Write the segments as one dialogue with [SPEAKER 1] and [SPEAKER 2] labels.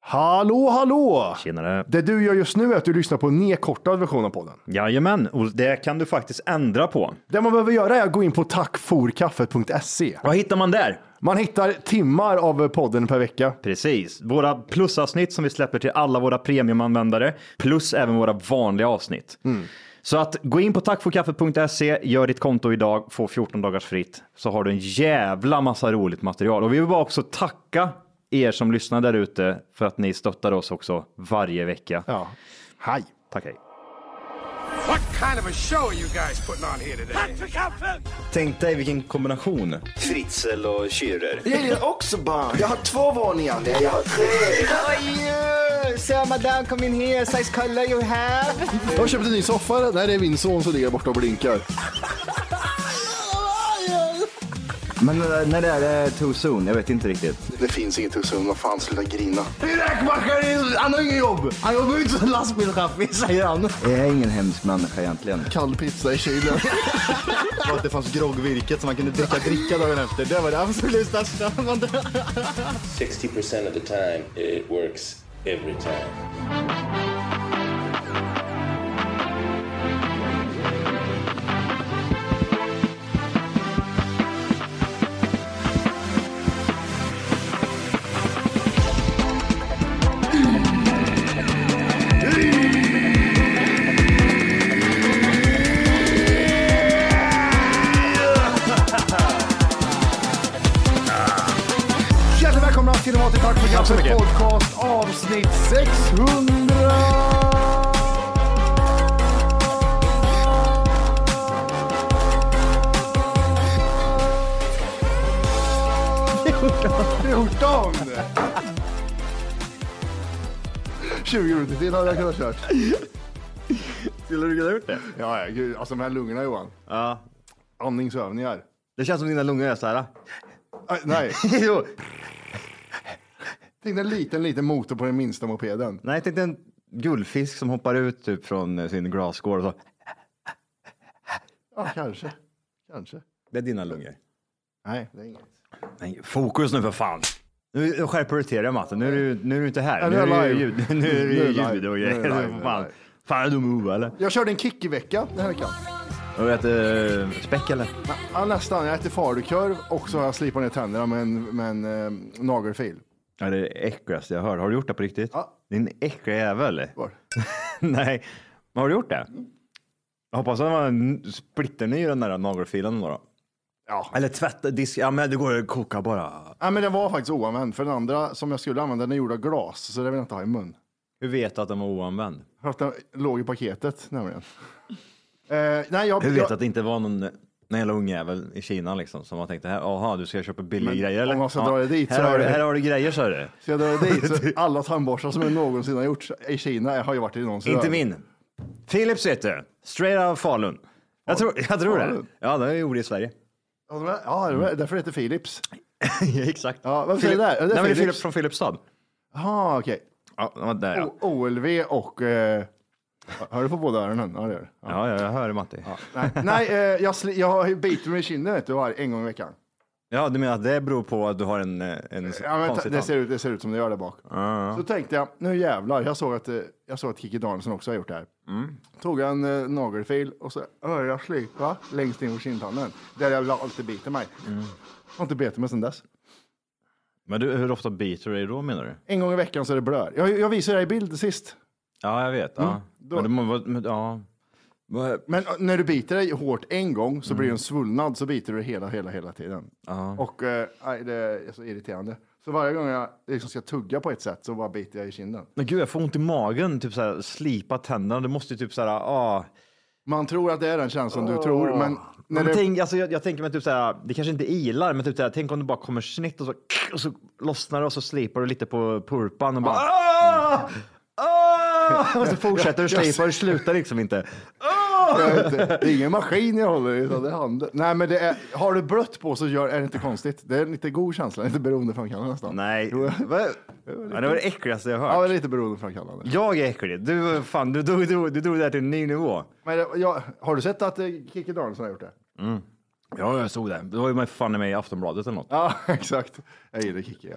[SPEAKER 1] Hallå, hallå!
[SPEAKER 2] Tjenare.
[SPEAKER 1] Det du gör just nu är att du lyssnar på en nedkortad version av podden.
[SPEAKER 2] Jajamän, och det kan du faktiskt ändra på.
[SPEAKER 1] Det man behöver göra är att gå in på tackforkaffet.se.
[SPEAKER 2] Vad hittar man där?
[SPEAKER 1] Man hittar timmar av podden per vecka.
[SPEAKER 2] Precis, våra plusavsnitt som vi släpper till alla våra premiumanvändare, plus även våra vanliga avsnitt.
[SPEAKER 3] Mm.
[SPEAKER 2] Så att gå in på tackforkaffet.se, gör ditt konto idag, få 14 dagars fritt, så har du en jävla massa roligt material. Och vi vill bara också tacka er som lyssnar där ute för att ni stöttar oss också varje vecka.
[SPEAKER 1] Ja. Hej!
[SPEAKER 2] Tack hej.
[SPEAKER 4] What kind of a show are you guys putting on here today?
[SPEAKER 3] Tänk dig vilken kombination. Fritzl och Schürrer.
[SPEAKER 5] Jag lirar också barn. Jag har två våningar. Nej, jag har tre.
[SPEAKER 6] So madame, come in here, size color you have.
[SPEAKER 1] Jag har köpt en ny soffa. Nej, det är min son som ligger borta och blinkar.
[SPEAKER 3] Men eh, när det är det too soon? Jag vet inte riktigt.
[SPEAKER 5] Det finns inget hos honom. Vad fan, sluta grina.
[SPEAKER 1] Räkmackaren, han har inget jobb! Han jobbar inte som lastbilschaffis, säger han.
[SPEAKER 3] Jag är ingen hemsk människa egentligen.
[SPEAKER 1] Kall pizza i kylen.
[SPEAKER 3] Och att det fanns groggvirket som man kunde dricka dricka dagen efter. Det var det absolut största.
[SPEAKER 7] 60% of the time, it works every time.
[SPEAKER 1] Hjärtligt välkomna till Mat i Tack för
[SPEAKER 2] så
[SPEAKER 1] kaffet
[SPEAKER 2] mycket.
[SPEAKER 1] podcast avsnitt 600! Fjorton! 20 minuter till hade jag kunnat kört.
[SPEAKER 2] Skulle du kunna gjort det?
[SPEAKER 1] Ja, ja, gud. Alltså de här lungorna Johan.
[SPEAKER 2] Ja.
[SPEAKER 1] Andningsövningar.
[SPEAKER 2] Det känns som dina lungor är så här.
[SPEAKER 1] Aj, nej,
[SPEAKER 2] jo.
[SPEAKER 1] tänk dig en liten, liten motor på den minsta mopeden.
[SPEAKER 2] Nej, jag tänkte en guldfisk som hoppar ut typ från eh, sin glasgård och så.
[SPEAKER 1] Ja, kanske. Kanske.
[SPEAKER 2] Det är dina lungor.
[SPEAKER 1] Nej, det är inget.
[SPEAKER 2] Nej, fokus nu för fan. Nu skärper du till dig Matte, nu är du, nu är du inte här.
[SPEAKER 1] Ja,
[SPEAKER 2] Nu är det ju
[SPEAKER 1] live.
[SPEAKER 2] ljud, nu är det
[SPEAKER 1] Nu är
[SPEAKER 2] ju
[SPEAKER 1] live.
[SPEAKER 2] ljud och
[SPEAKER 1] Nu är det live,
[SPEAKER 2] grejer.
[SPEAKER 1] nu är
[SPEAKER 2] Fan.
[SPEAKER 1] live.
[SPEAKER 2] fan, är du move eller?
[SPEAKER 1] Jag körde en kick i veckan den här veckan.
[SPEAKER 2] Du äter eh, späck eller?
[SPEAKER 1] Ja, nästan. Jag äter falukorv och så har jag slipat ner tänderna med en, med en eh, nagelfil.
[SPEAKER 2] Ja, det är det äckligaste jag hör. Har du gjort det på riktigt?
[SPEAKER 1] Ja.
[SPEAKER 2] Din äckliga jävel.
[SPEAKER 1] Var?
[SPEAKER 2] Nej, men har du gjort det? Jag hoppas att den var n- splitterny den där nagelfilen då. då.
[SPEAKER 1] Ja.
[SPEAKER 2] Eller tvätta, disk, ja men det går att koka bara.
[SPEAKER 1] Nej, men den var faktiskt oanvänd. För den andra som jag skulle använda, den är gjord av glas. Så det vill jag inte ha i mun.
[SPEAKER 2] Hur vet du att den var oanvänd?
[SPEAKER 1] För att den låg i paketet nämligen. Eh, nej, jag,
[SPEAKER 2] Hur vet
[SPEAKER 1] jag,
[SPEAKER 2] du att det inte var någon, någon jävla ungjävel i Kina liksom som har tänkt det här, aha du ska köpa billiga
[SPEAKER 1] Men
[SPEAKER 2] grejer eller?
[SPEAKER 1] om man ska dra det dit så
[SPEAKER 2] här, har
[SPEAKER 1] är
[SPEAKER 2] du,
[SPEAKER 1] det-
[SPEAKER 2] här har du grejer sa du.
[SPEAKER 1] Så jag drar dit så alla tandborstar som jag någonsin har gjort i Kina har ju varit i någons
[SPEAKER 2] Inte
[SPEAKER 1] rör.
[SPEAKER 2] min. Philips heter det. Straight out of Falun. Jag tror, jag tror det.
[SPEAKER 1] Falun?
[SPEAKER 2] Ja, den gjorde i Sverige.
[SPEAKER 1] Ja, de är- Ja, det är därför heter det Philips.
[SPEAKER 2] Exakt.
[SPEAKER 1] Ja, varför är det där? Ja, det är
[SPEAKER 2] Nej, men det är
[SPEAKER 1] Philips.
[SPEAKER 2] Philips från Filipstad.
[SPEAKER 1] Jaha, okej.
[SPEAKER 2] Ja, den var där ja.
[SPEAKER 1] O- OLV och... Eh, hör du på båda öronen? Ja, det gör du. Ja.
[SPEAKER 2] Ja, ja, jag hör det Matti. Ja.
[SPEAKER 1] Nej, nej eh, jag, sli- jag biter mig i kinden vet du, var- en gång i veckan.
[SPEAKER 2] du menar att det beror på att du har en, eh, en
[SPEAKER 1] Ja, men ta-
[SPEAKER 2] konstig
[SPEAKER 1] det,
[SPEAKER 2] tand?
[SPEAKER 1] ser ut, det ser ut som det gör där bak. Så tänkte jag, nu jävlar, jag såg att, eh, jag såg att Kiki Danielsson också har gjort det här. Tog jag en eh, nagelfil och så hörde jag slipa Mm. längst in på kindtanden. Där jag alltid biter mig. Har inte bitit mig sedan dess.
[SPEAKER 2] Men du, hur ofta biter du dig då menar du?
[SPEAKER 1] En gång i veckan så är det blöd. Jag, jag visade dig bild sist.
[SPEAKER 2] Ja, jag vet.
[SPEAKER 1] Mm,
[SPEAKER 2] Ja. Men det må, vara- men, ja.
[SPEAKER 1] Men eh, när du biter dig hårt en gång så blir
[SPEAKER 2] Mm.
[SPEAKER 1] det en svullnad så biter du hela, hela, hela tiden. Och eh, aj, det är så irriterande. Så varje gång jag liksom ska tugga på ett sätt så bara biter jag i kinden.
[SPEAKER 2] Men gud, jag får ont i magen. Typ så här, slipa tänderna. Det måste ju typ så här, ah.
[SPEAKER 1] Man tror att det är den känslan du tror, men när
[SPEAKER 2] Men
[SPEAKER 1] det,
[SPEAKER 2] tänk, alltså, jag, jag tänker mig typ så här, det kanske inte ilar, men typ så här, tänk om det bara kommer snitt och så, och så lossnar det och så slipar du lite på purpan och bara ah! Ah! Och så fortsätter du slipa och det slutar liksom inte.
[SPEAKER 1] jag vet inte, det är ingen maskin jag håller i, utan det är handen. Nej, men det är, har du blött på så gör, är det inte konstigt. Det är en lite god känsla, lite beroendeframkallande nästan.
[SPEAKER 2] Nej,
[SPEAKER 1] Jo.
[SPEAKER 2] Va? Ja, det var det äckligaste jag
[SPEAKER 1] Ja,
[SPEAKER 2] hört.
[SPEAKER 1] det är lite beroendeframkallande.
[SPEAKER 2] Jag är äcklig. Du, fan, du, du, du, du drog det här till en ny nivå.
[SPEAKER 1] Men det- jag, har du sett att eh, Kikki Danielsson har gjort det?
[SPEAKER 2] Ja, jag såg det. Det var ju man fan i mig i Aftonbladet eller något.
[SPEAKER 1] Ja, exakt. Jag gillar Kikki. Ja.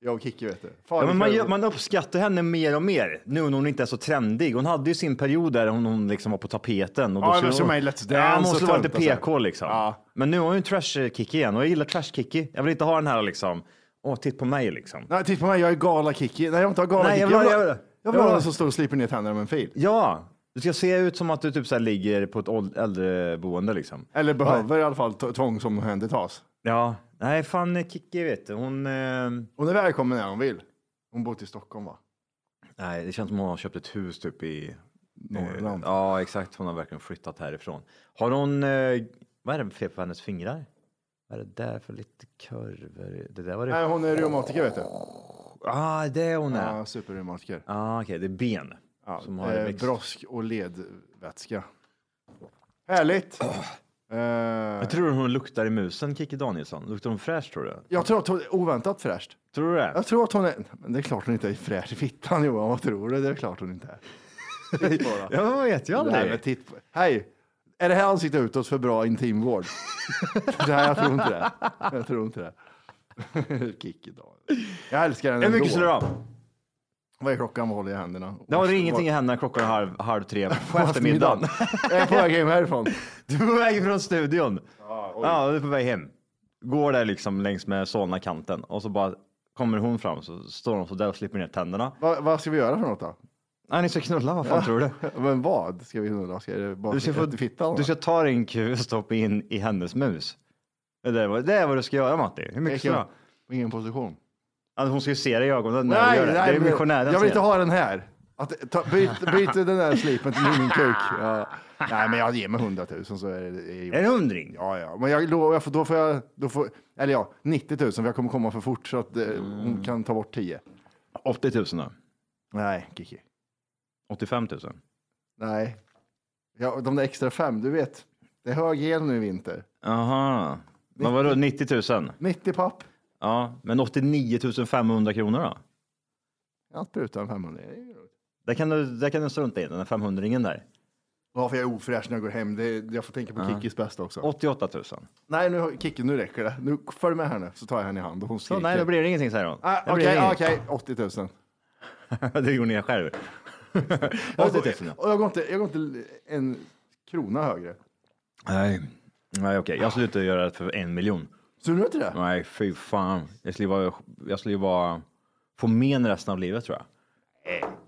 [SPEAKER 1] Jag och Kikki vet du. Fan,
[SPEAKER 2] Ja, men man,
[SPEAKER 1] det-
[SPEAKER 2] gör- man uppskattar henne mer och mer nu när hon inte är så trendig. Hon hade ju sin period där hon, hon liksom var på tapeten. Och
[SPEAKER 1] Ja,
[SPEAKER 2] skulle
[SPEAKER 1] men som
[SPEAKER 2] hon,
[SPEAKER 1] är Let's
[SPEAKER 2] ja, hon
[SPEAKER 1] Dance
[SPEAKER 2] måste
[SPEAKER 1] och
[SPEAKER 2] vara lite
[SPEAKER 1] tönt och så här.
[SPEAKER 2] PK liksom.
[SPEAKER 1] Ja.
[SPEAKER 2] Men nu har hon ju en trash-kick igen och jag gillar trash-kicky. Jag vill inte ha den här liksom, åh, titta på mig liksom.
[SPEAKER 1] Nej, titta på mig, jag är gala Kikki. Nej, jag vill inte ha gala
[SPEAKER 2] Nej, jag
[SPEAKER 1] Kikki.
[SPEAKER 2] vill ha-
[SPEAKER 1] jag
[SPEAKER 2] jag
[SPEAKER 1] vill ha- jag vill
[SPEAKER 2] vill ha-
[SPEAKER 1] ha
[SPEAKER 2] jag vill
[SPEAKER 1] någon
[SPEAKER 2] ha-
[SPEAKER 1] som står och slipar ner tänderna med en fil.
[SPEAKER 2] Ja, du ska se ut som att du typ så här ligger på ett åld- äldreboende liksom.
[SPEAKER 1] Eller behöver i alla fall t- tvång som händer tas.
[SPEAKER 2] Ja, nej fan eh, Kikki vet du, hon... Eh...
[SPEAKER 1] Hon är välkommen när hon vill. Hon bor till Stockholm va?
[SPEAKER 2] Nej, det känns som hon har köpt ett hus typ i...
[SPEAKER 1] Norrland.
[SPEAKER 2] Eh, Ja, exakt. Hon har verkligen flyttat härifrån. Har hon... Eh, vad är det för fel på hennes fingrar? Vad är det där för lite kurvor? Det där var det...
[SPEAKER 1] Nej, hon är reumatiker vet du.
[SPEAKER 2] Ah, det är hon är.
[SPEAKER 1] Ja, superreumatiker.
[SPEAKER 2] Ah, okej. Det är ben.
[SPEAKER 1] Ja,
[SPEAKER 2] Som har
[SPEAKER 1] eh,
[SPEAKER 2] växt.
[SPEAKER 1] brosk och ledvätska. Härligt.
[SPEAKER 2] Jag
[SPEAKER 1] Eh,
[SPEAKER 2] tror hon luktar i musen, Kikki Danielsson. Luktar hon fräsch tror du?
[SPEAKER 1] jag tror att hon är oväntat fräscht.
[SPEAKER 2] Tror du det?
[SPEAKER 1] Jag tror att hon är... Men det är klart hon inte är fräsch i fittan Johan, vad tror du? Det är klart hon inte är. Titt på då.
[SPEAKER 2] Ja, vad vet jag
[SPEAKER 1] Det här med
[SPEAKER 2] aldrig.
[SPEAKER 1] titt på. Hej! Är det här ansiktet utåt för bra intimvård? Nej, jag tror inte det. Jag tror inte det. Kikki idag. Jag älskar henne
[SPEAKER 2] Hur mycket slår du
[SPEAKER 1] ändå.
[SPEAKER 2] av?
[SPEAKER 1] Vad är klockan? Vad håller jag i händerna?
[SPEAKER 2] Det har ingenting i händerna. Klockan är halv, halv tre på eftermiddagen.
[SPEAKER 1] jag är på väg hem härifrån.
[SPEAKER 2] Du är på väg från studion. ja, du är på väg hem. Går där liksom längs med Solna-kanten och så bara kommer hon fram så står hon så där och slipper ner tänderna.
[SPEAKER 1] Va, vad ska vi göra för något då?
[SPEAKER 2] Nej, ni ska knulla, vad fan tror du?
[SPEAKER 1] Men vad ska vi knulla? Ska det bara
[SPEAKER 2] Du ska, få,
[SPEAKER 1] i fittan?
[SPEAKER 2] du ska ta din kuk och stoppa in i hennes mus. Det, där, var- det är vad du ska göra Matti. Hur mycket ska du ha?
[SPEAKER 1] Vilken, vilken position?
[SPEAKER 2] Alltså, hon ska ju se dig i ögonen när du gör det. Det är
[SPEAKER 1] men
[SPEAKER 2] missionären
[SPEAKER 1] Jag vill
[SPEAKER 2] som
[SPEAKER 1] inte
[SPEAKER 2] gör det.
[SPEAKER 1] ha den här. Att, ta, byt, byt den där slipen till min kuk. Ja. Nej, men jag ger mig 100 000 så är det... Är
[SPEAKER 2] En hundring?
[SPEAKER 1] Ja, ja, men jag, då, jag får, då får jag, då får, eller ja, 90 000 för jag kommer komma för fort så att eh, hon kan ta bort 10.
[SPEAKER 2] 80 000 då?
[SPEAKER 1] Nej, Kiki.
[SPEAKER 2] 85 000?
[SPEAKER 1] Nej. Ja, de där extra fem, du vet. Det är hög el nu i vinter.
[SPEAKER 2] Aha. Men vadå 90 000?
[SPEAKER 1] 90 papp.
[SPEAKER 2] Ja, men 89 500 kronor då?
[SPEAKER 1] Att pruta en 500. det är ju roligt.
[SPEAKER 2] Där kan du, där kan du strunta i den där 500-ringen där.
[SPEAKER 1] Ja, för jag är ofräsch när jag går hem. Det, är- jag får tänka på Kikis bästa också.
[SPEAKER 2] 88 000.
[SPEAKER 1] nej, nu, Kiki, nu räcker det. Nu, följ med här nu, så tar jag henne i hand och hon
[SPEAKER 2] Så,
[SPEAKER 1] skriker.
[SPEAKER 2] nej, då blir det ingenting säger hon.
[SPEAKER 1] Ah,
[SPEAKER 2] Det blir
[SPEAKER 1] Okej,
[SPEAKER 2] ingenting.
[SPEAKER 1] okej, 80 000.
[SPEAKER 2] det gjorde ni själv. 80 000 ja.
[SPEAKER 1] Och jag går, inte, jag går inte en krona högre.
[SPEAKER 2] Nej, nej okej. Jag slutar göra det för en miljon.
[SPEAKER 1] Så nu är inte det?
[SPEAKER 2] Nej, fy fan. Jag skulle ju vara, jag skulle ju vara, få men resten av livet tror jag.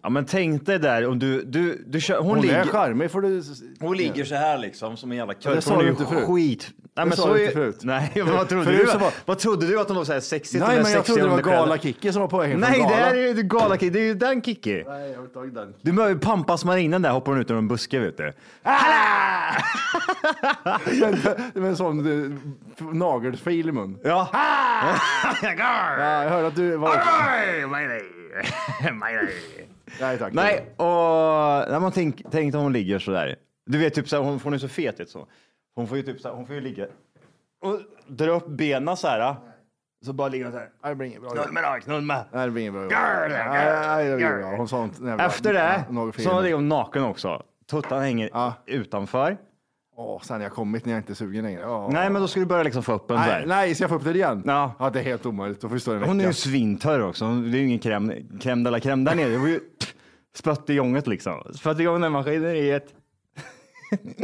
[SPEAKER 2] Ja men tänk dig där om du, du, du kör, Eh. hon,
[SPEAKER 1] Hon är
[SPEAKER 2] ligger,
[SPEAKER 1] charmig, får du...
[SPEAKER 2] hon ligger så här liksom som en jävla
[SPEAKER 1] det
[SPEAKER 2] kör.
[SPEAKER 1] sa
[SPEAKER 2] Hon är
[SPEAKER 1] du
[SPEAKER 2] ju
[SPEAKER 1] inte förut.
[SPEAKER 2] skit. Nej,
[SPEAKER 1] sa du
[SPEAKER 2] är-
[SPEAKER 1] inte förut.
[SPEAKER 2] Nej, vad trodde
[SPEAKER 1] Förut
[SPEAKER 2] du?
[SPEAKER 1] så var-
[SPEAKER 2] Vad trodde du att hon var så här sexigt?
[SPEAKER 1] Nej, men jag trodde det var gala Kikki som var på väg hem från
[SPEAKER 2] Nej, det
[SPEAKER 1] gala.
[SPEAKER 2] här är ju galakicki. Det är ju den Kikki.
[SPEAKER 1] Nej, jag har tagit den.
[SPEAKER 2] Du behöver ju pampas marinen där hoppar hon ut ur en buske vet du.
[SPEAKER 1] Ah! Det var en sån eh, f- nagelfil i mun.
[SPEAKER 2] Ja.
[SPEAKER 1] Ja, jag hörde att du var...
[SPEAKER 2] Ah!
[SPEAKER 1] Nej, tack.
[SPEAKER 2] Nej, och när man tänk, tänk om hon ligger så där. Du vet, typ så här, hon, hon är så fet vet, så. Hon får ju typ så här, hon får ju ligga och dra upp benen så här. Så bara ligger hon så här.
[SPEAKER 1] Nej, det blir inget bra.
[SPEAKER 2] Knull med då, knull med.
[SPEAKER 1] Nej, det blir inget bra.
[SPEAKER 2] Girl,
[SPEAKER 1] Nej, det blir inget bra.
[SPEAKER 2] girl.
[SPEAKER 1] Hon sa inte... nej,
[SPEAKER 2] Efter det
[SPEAKER 1] Nagelfil.
[SPEAKER 2] så ligger hon naken också. Tuttan hänger
[SPEAKER 1] Ja.
[SPEAKER 2] utanför.
[SPEAKER 1] Åh, sen har jag kommit när jag inte är sugen längre. Åh.
[SPEAKER 2] Nej, men då ska du börja liksom få upp den så
[SPEAKER 1] Nej,
[SPEAKER 2] här.
[SPEAKER 1] nej, ska jag få upp det igen?
[SPEAKER 2] Ja.
[SPEAKER 1] ja det är helt omöjligt. Då får vi stå en vecka.
[SPEAKER 2] Hon är ju svintörr också. Hon- Det är ju ingen crème crème de la crème där nere. Det var ju spött i gånget liksom. Spött i gången i maskineriet.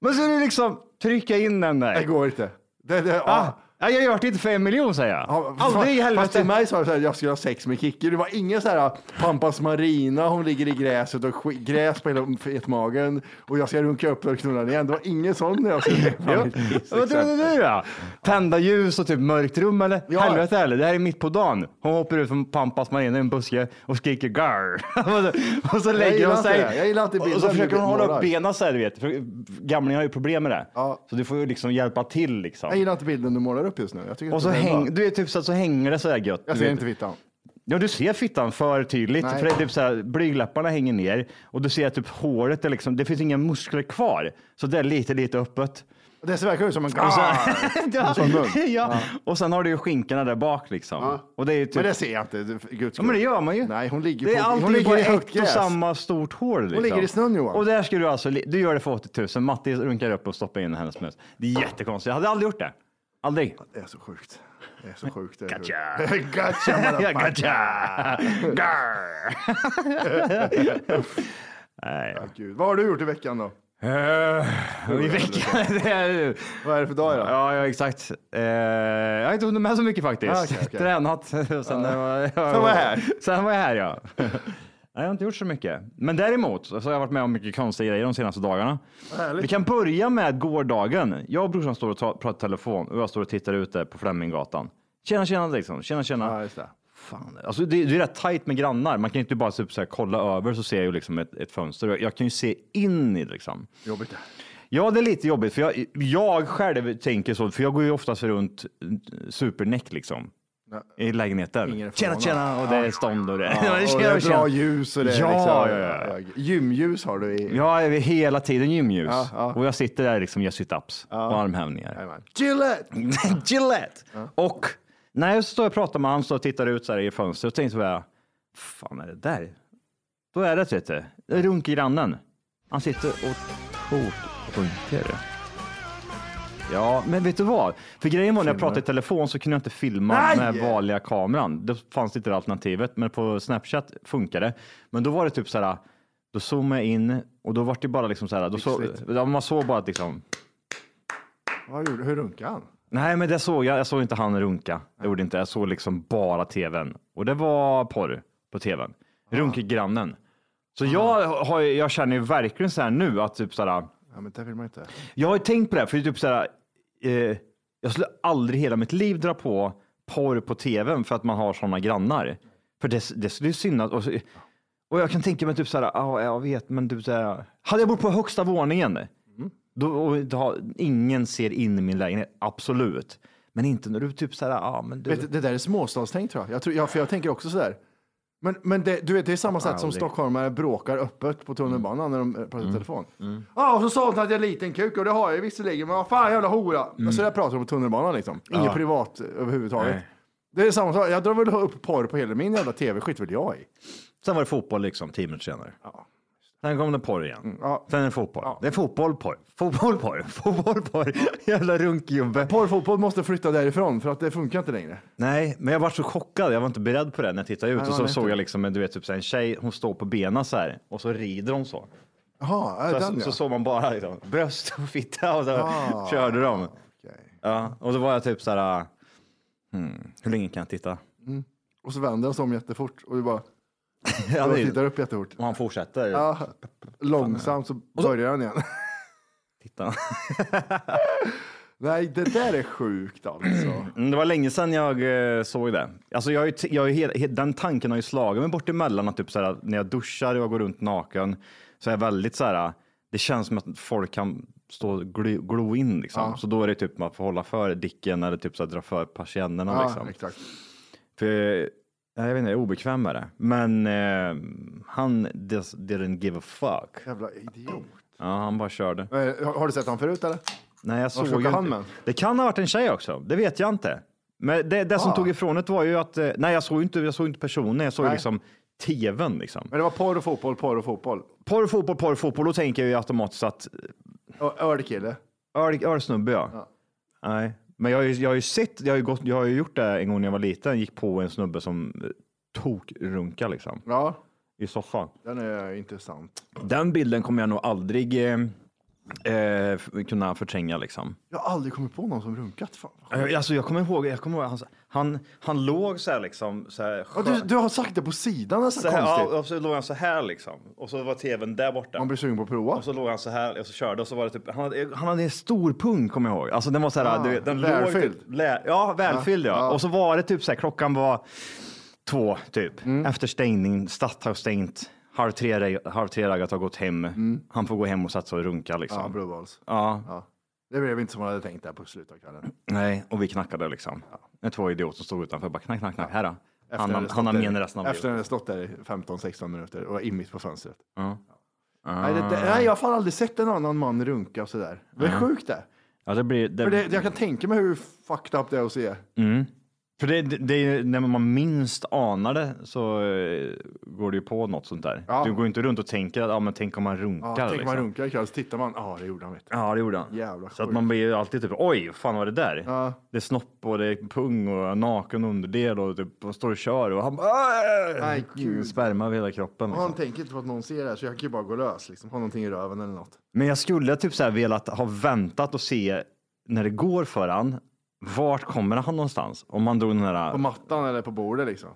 [SPEAKER 2] Men så är det liksom trycka in den
[SPEAKER 1] Det
[SPEAKER 2] där.
[SPEAKER 1] går inte. Det, det,
[SPEAKER 2] Ah,
[SPEAKER 1] ja.
[SPEAKER 2] Ja, jag gör det inte för en miljon säger jag. Aldrig i
[SPEAKER 1] Fast till
[SPEAKER 2] helvete.
[SPEAKER 1] mig sa du såhär, jag skulle ha sex med Kikki. Det var ingen såhär, Pampas Marina, hon ligger i gräset och skit, gräs på hela fetmagen och jag ska runka upp och knulla henne igen. Det var ingen sån när jag skulle
[SPEAKER 2] Jo.
[SPEAKER 1] liksom.
[SPEAKER 2] Vad trodde du då? Tända ljus och typ mörkt rum eller?
[SPEAKER 1] Ja.
[SPEAKER 2] Helvete eller? Det här är mitt på dagen. Hon hoppar ut från Pampas marina i en buske och skriker gar. och så lägger
[SPEAKER 1] gillar
[SPEAKER 2] hon
[SPEAKER 1] inte
[SPEAKER 2] sig.
[SPEAKER 1] det. Jag gillar inte
[SPEAKER 2] och så
[SPEAKER 1] bilden
[SPEAKER 2] försöker hon
[SPEAKER 1] du
[SPEAKER 2] hålla upp
[SPEAKER 1] målar.
[SPEAKER 2] benen så här, du vet. För gamlingen har ju problem med det.
[SPEAKER 1] Ja.
[SPEAKER 2] Så du får ju liksom hjälpa till liksom.
[SPEAKER 1] Jag gillar inte bilden du målar upp just nu. Jag tycker
[SPEAKER 2] Och så,
[SPEAKER 1] inte den är
[SPEAKER 2] häng,
[SPEAKER 1] bra.
[SPEAKER 2] du är typ så, att så hänger det så här gött.
[SPEAKER 1] Jag
[SPEAKER 2] du
[SPEAKER 1] ser
[SPEAKER 2] vet.
[SPEAKER 1] inte fittan.
[SPEAKER 2] Ja, du ser fittan för tydligt.
[SPEAKER 1] Nej.
[SPEAKER 2] För det är typ så här, blygdläpparna hänger ner och du ser typ håret, är liksom, det finns inga muskler kvar. Så det är lite, lite öppet.
[SPEAKER 1] Det ser verkligen ut som en gar.
[SPEAKER 2] Ja. Typ.
[SPEAKER 1] sån Ah! mun.
[SPEAKER 2] ja. Och sen har du ju skinkorna där bak liksom. Och det är ju typ...
[SPEAKER 1] Men det ser jag inte. det- för Guds
[SPEAKER 2] Ja, men det gör man ju.
[SPEAKER 1] Nej, hon ligger
[SPEAKER 2] det är
[SPEAKER 1] på,
[SPEAKER 2] alltid
[SPEAKER 1] hon ligger
[SPEAKER 2] på
[SPEAKER 1] i
[SPEAKER 2] ett
[SPEAKER 1] högt
[SPEAKER 2] och
[SPEAKER 1] gräs.
[SPEAKER 2] samma stort hål. Liksom.
[SPEAKER 1] ligger i snön, Johan.
[SPEAKER 2] Och där ska du alltså, li- du gör det för 80 000. Matti runkar upp och stoppar in hennes mus. Det är jättekonstigt. Jag hade aldrig gjort det. Aldrig.
[SPEAKER 1] Det är så sjukt. Det är så sjukt. Det är
[SPEAKER 2] Gotcha.
[SPEAKER 1] sjukt. gotcha,
[SPEAKER 2] Ja,
[SPEAKER 1] motherfucker.
[SPEAKER 2] gotcha! Grr. Nej.
[SPEAKER 1] Ja, Gud. Vad har du gjort i veckan då?
[SPEAKER 2] Eh, I veckan, det är ju-
[SPEAKER 1] Vad är det för dag idag?
[SPEAKER 2] Ja, ja exakt. Eh, jag har inte hunnit med så mycket faktiskt.
[SPEAKER 1] Ah, okej, okej.
[SPEAKER 2] Tränat. Sen, var,
[SPEAKER 1] Sen var jag här.
[SPEAKER 2] Sen var jag här ja. Nej, jag har inte gjort så mycket. Men däremot så har jag varit med om mycket konstiga grejer de senaste dagarna. Vi kan börja med gårdagen. Jag och brorsan står och ta- pratar telefon och jag står och tittar ut där på Fleminggatan. Tjena, tjena liksom. Tjena, tjena.
[SPEAKER 1] Ja, just det.
[SPEAKER 2] Fan, alltså det, det är rätt tajt med grannar. Man kan ju inte bara typ så här, kolla över så ser jag ju liksom ett, ett fönster. Jag, jag kan ju se in i det, liksom.
[SPEAKER 1] Jobbigt det.
[SPEAKER 2] Ja, det är lite jobbigt för jag, jag själv tänker så, för jag går ju oftast runt supernäck liksom i
[SPEAKER 1] Ingen är
[SPEAKER 2] lägenheten. Tjena,
[SPEAKER 1] förvånad.
[SPEAKER 2] tjena och det är stånd och det. Ja,
[SPEAKER 1] och det är bra ljus och det är
[SPEAKER 2] Ja,
[SPEAKER 1] liksom,
[SPEAKER 2] ja,
[SPEAKER 1] Gymljus har du i...
[SPEAKER 2] Jag är hela tiden gymljus
[SPEAKER 1] Ja, ja.
[SPEAKER 2] och jag sitter där liksom, gör sit-ups och armhävningar.
[SPEAKER 1] Jajamän. Gillette!
[SPEAKER 2] Gillette! Och när jag står och pratar med honom så tittar jag ut så här i fönstret och tänker så här, fan är det där? Då är det vet du, det är runkgrannen. Han sitter och tokrunkar. Ja, men vet du vad? För grejen var när jag pratade i telefon så kunde jag inte filma
[SPEAKER 1] Nej!
[SPEAKER 2] med vanliga kameran. Det fanns inte det alternativet, men på Snapchat funkade det. Men då var det typ så här, då zoomade jag in och då var det bara liksom så här, då så, ja, man såg bara att liksom,
[SPEAKER 1] Vad gjorde, hur runkade han?
[SPEAKER 2] Nej, men det såg jag. Jag såg inte han runka. Jag gjorde inte. Jag såg liksom bara tvn och det var porr på tvn. Runkgrannen. Så jag, har, ju- jag känner ju verkligen så här nu att typ så här.
[SPEAKER 1] Ja, men det vill man inte.
[SPEAKER 2] Jag har ju tänkt på det här, för det är typ så här. Eh, jag skulle aldrig hela mitt liv dra på porr på tvn för att man har sådana grannar. För det, det skulle ju synas. Och, så- och jag kan tänka mig typ så här. Ja, jag vet, men typ så här. Hade jag bott på högsta våningen. Då, och, då, ingen ser in i min lägenhet, absolut. Men inte när du typ så här, ja men du.
[SPEAKER 1] Vet, du, det där är småstadstänk tror jag. jag, tror, ja, för jag tänker också sådär. Men, men det, du vet, det är samma sätt som
[SPEAKER 2] aldrig.
[SPEAKER 1] stockholmare bråkar öppet på tunnelbanan när de eh, pratar i
[SPEAKER 2] Mm.
[SPEAKER 1] telefon. Ja, och så sa hon att jag är liten kuk och det har jag ju visserligen, men vad fan jävla hora.
[SPEAKER 2] Mm.
[SPEAKER 1] Men så där pratar de på tunnelbanan liksom. Inget privat eh, överhuvudtaget.
[SPEAKER 2] Nej.
[SPEAKER 1] Det är samma sak. Jag drar väl upp porr på hela min jävla tv, skit väl jag i.
[SPEAKER 2] Sen var det fotboll liksom, tio minuter senare.
[SPEAKER 1] Ja. Mm,
[SPEAKER 2] Sen kom det porr igen.
[SPEAKER 1] ja.
[SPEAKER 2] Sen är det fotboll.
[SPEAKER 1] Ja.
[SPEAKER 2] Det är fotboll, porr. Fotboll, porr. Fotboll, porr. Jävla runkgubbe.
[SPEAKER 1] Porrfotboll måste flytta därifrån för att det funkar inte längre.
[SPEAKER 2] Nej, men jag var så chockad. Jag var inte beredd på det när jag tittade ut
[SPEAKER 1] Nej,
[SPEAKER 2] och
[SPEAKER 1] man
[SPEAKER 2] så
[SPEAKER 1] vet
[SPEAKER 2] såg
[SPEAKER 1] inte.
[SPEAKER 2] jag liksom, en- du vet, typ så här, en tjej, hon står på benen så här och så rider hon så.
[SPEAKER 1] Jaha,
[SPEAKER 2] Så,
[SPEAKER 1] äh,
[SPEAKER 2] så,
[SPEAKER 1] den ja.
[SPEAKER 2] såg man bara liksom, bröst och fitta och så
[SPEAKER 1] Ah.
[SPEAKER 2] körde de.
[SPEAKER 1] Okej.
[SPEAKER 2] Ja, och då var jag typ så här, ah, hmm, hur länge kan jag titta?
[SPEAKER 1] Och så vänder han sig om jättefort och du bara
[SPEAKER 2] Ja,
[SPEAKER 1] och
[SPEAKER 2] det är-
[SPEAKER 1] tittar upp jättefort.
[SPEAKER 2] och han fortsätter.
[SPEAKER 1] Ja, långsamt så börjar han igen.
[SPEAKER 2] Titta.
[SPEAKER 1] Nej, det där är sjukt alltså.
[SPEAKER 2] Mm, Det var länge sedan jag eh, såg det. Alltså jag har ju t- jag har ju hela- he- den tanken har ju slagit mig bort emellan att typ så här, när jag duschar och jag går runt naken så är jag väldigt så här, eh, det känns som att folk kan stå och glo, glo in liksom. Så då är det typ man får hålla för dicken eller typ så här, dra för persiennerna
[SPEAKER 1] Ja,
[SPEAKER 2] liksom.
[SPEAKER 1] exakt.
[SPEAKER 2] För, eh, jag vet inte, jag är obekväm med det. Men eh, han dis- didn't give a fuck.
[SPEAKER 1] Jävla idiot.
[SPEAKER 2] Ja, han bara körde.
[SPEAKER 1] Eh, Har har du sett han förut eller?
[SPEAKER 2] Nej, jag såg
[SPEAKER 1] åker
[SPEAKER 2] ju
[SPEAKER 1] han
[SPEAKER 2] inte.
[SPEAKER 1] med?
[SPEAKER 2] Det kan ha varit en tjej också. Det vet jag inte. Men det, det som
[SPEAKER 1] Ah.
[SPEAKER 2] tog ifrån det var ju att, eh, nej jag såg ju inte, jag såg inte personen, jag såg ju
[SPEAKER 1] Nej.
[SPEAKER 2] liksom tvn liksom.
[SPEAKER 1] Men det var porr och fotboll, porr och fotboll.
[SPEAKER 2] Porr, fotboll, porr, fotboll, då tänker jag ju automatiskt att
[SPEAKER 1] Och Ölkille.
[SPEAKER 2] öl, ölsnubbe ja. Nej, men jag har ju, jag har ju sett, jag har ju, gått, jag har ju gjort det en gång när jag var liten, gick på en snubbe som eh, tokrunkade liksom
[SPEAKER 1] Ja,
[SPEAKER 2] i soffan.
[SPEAKER 1] den är intressant.
[SPEAKER 2] Den bilden kommer jag nog aldrig eh, eh, kunna förtränga liksom.
[SPEAKER 1] Jag har aldrig kommit på någon som runkat. Fan.
[SPEAKER 2] Eh, Alltså jag kommer ihåg, jag kommer ihåg han, han, han låg så här liksom. Så här,
[SPEAKER 1] Ja, du, du har sagt det på sidan nästan
[SPEAKER 2] så här, ja,
[SPEAKER 1] konstigt.
[SPEAKER 2] och så låg han så här liksom. Och så var tvn där borta.
[SPEAKER 1] Man blir sugen på att prova.
[SPEAKER 2] Och så låg han så här och så körde och så var det typ, han hade, han hade en stor pung kommer jag ihåg. Alltså den var så här,
[SPEAKER 1] Ah,
[SPEAKER 2] du vet, den
[SPEAKER 1] välfylld. Ah,
[SPEAKER 2] låg typ, lä, Ja, välfylld ja.
[SPEAKER 1] Ja, ja.
[SPEAKER 2] Och så var det typ så här, klockan var två typ.
[SPEAKER 1] Mm.
[SPEAKER 2] Efter stängning, Statt har stängt, halv tre, halv tre raggat har gått hem.
[SPEAKER 1] Mm.
[SPEAKER 2] Han får gå hem och satsa och runka
[SPEAKER 1] Ja,
[SPEAKER 2] liksom.
[SPEAKER 1] blodbals.
[SPEAKER 2] Ja,
[SPEAKER 1] Ja. Det blev inte som man hade tänkt där på slutet av kvällen.
[SPEAKER 2] nej, och vi knackade liksom. Det var två idioter som stod utanför, bara knack, knack, knack, här då.
[SPEAKER 1] Efter
[SPEAKER 2] Han,
[SPEAKER 1] hade
[SPEAKER 2] han,
[SPEAKER 1] stått
[SPEAKER 2] han har
[SPEAKER 1] där-
[SPEAKER 2] men resten av
[SPEAKER 1] Efter
[SPEAKER 2] livet.
[SPEAKER 1] hade stått där i 15-16 minuter och var in mitt på fönstret.
[SPEAKER 2] Ja. Ah.
[SPEAKER 1] Nej, det, det, nej, jag har fan aldrig sett en annan man runka och sådär. Det är sjukt det.
[SPEAKER 2] Ja, det blir, det,
[SPEAKER 1] För det. Jag kan tänka mig hur fucked up det är att se.
[SPEAKER 2] För det, det, det är ju när man minst anar det så eh, går det ju på något sånt där.
[SPEAKER 1] Ja.
[SPEAKER 2] Du går ju inte runt och tänker att ah, men tänk om man runkar.
[SPEAKER 1] Ja, tänk om man
[SPEAKER 2] liksom.
[SPEAKER 1] runkar ikväll så tittar man, ja det gjorde han vet du.
[SPEAKER 2] Ja, det gjorde han.
[SPEAKER 1] Jävla
[SPEAKER 2] så att
[SPEAKER 1] sjukt.
[SPEAKER 2] man blir ju alltid typ oj, fan vad är det där?
[SPEAKER 1] Ja.
[SPEAKER 2] Det är snopp och det är pung och naken underdel och typ, man står och kör och han bara "Äh!"
[SPEAKER 1] Nej, gud.
[SPEAKER 2] sperma över hela kroppen.
[SPEAKER 1] Och
[SPEAKER 2] Liksom.
[SPEAKER 1] Han tänker inte på att någon ser det här så jag kan ju bara gå lös liksom. Ha någonting i röven eller något.
[SPEAKER 2] Men jag skulle typ så här velat ha väntat och se när det går för han. Vart kommer han någonstans? Om man drog den här
[SPEAKER 1] På mattan eller på bordet liksom.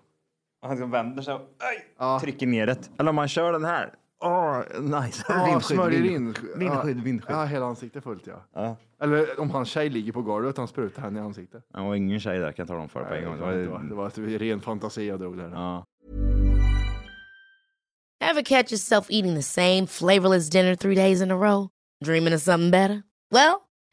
[SPEAKER 2] Han liksom vänder sig och aj,
[SPEAKER 1] Ja.
[SPEAKER 2] trycker ner det. Eller om man kör den här. Åh, nice.
[SPEAKER 1] Ja, smörjer in.
[SPEAKER 2] Vindskydd,
[SPEAKER 1] ja.
[SPEAKER 2] vindskydd.
[SPEAKER 1] Ja, hela ansiktet fullt ja.
[SPEAKER 2] Ja.
[SPEAKER 1] Eller om hans tjej ligger på golvet, han sprutar henne i ansiktet.
[SPEAKER 2] Det var ingen tjej där kan jag tala om för på en gång.
[SPEAKER 1] det,
[SPEAKER 2] Det
[SPEAKER 1] var, det, var,
[SPEAKER 2] var-
[SPEAKER 1] ett ren fantasi jag drog där.
[SPEAKER 2] Ja.
[SPEAKER 8] Ever catch yourself eating the same flavorless dinner three days in a row? Dreaming of something better? Well,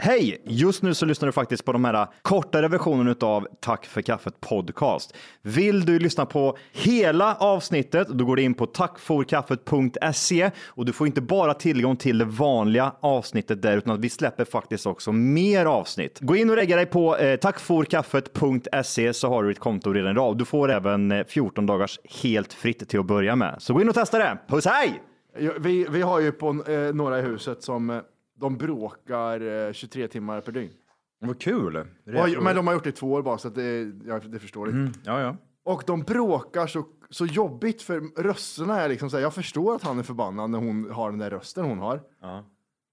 [SPEAKER 2] Hej! Just nu så lyssnar du faktiskt på de här kortare versionerna av Tack för kaffet podcast. Vill du lyssna på hela avsnittet, då går du in på tackforkaffet.se och du får inte bara tillgång till det vanliga avsnittet där, utan att vi släpper faktiskt också mer avsnitt. Gå in och lägga dig på eh, tackforkaffet.se så har du ditt konto redan idag. Du får även eh, 14 dagars helt fritt till att börja med. Så gå in och testa det. Puss hej!
[SPEAKER 1] Ja, Vi, vi har ju på eh, några i huset som eh, de bråkar eh, 23 timmar per dygn.
[SPEAKER 2] Vad kul!
[SPEAKER 1] Och, men de har gjort det i två år bara, så att det, ja, det förstår inte.
[SPEAKER 2] Ja, ja.
[SPEAKER 1] Och de bråkar så, så jobbigt för rösterna är liksom så här, jag förstår att han är förbannad när hon har den där rösten hon har.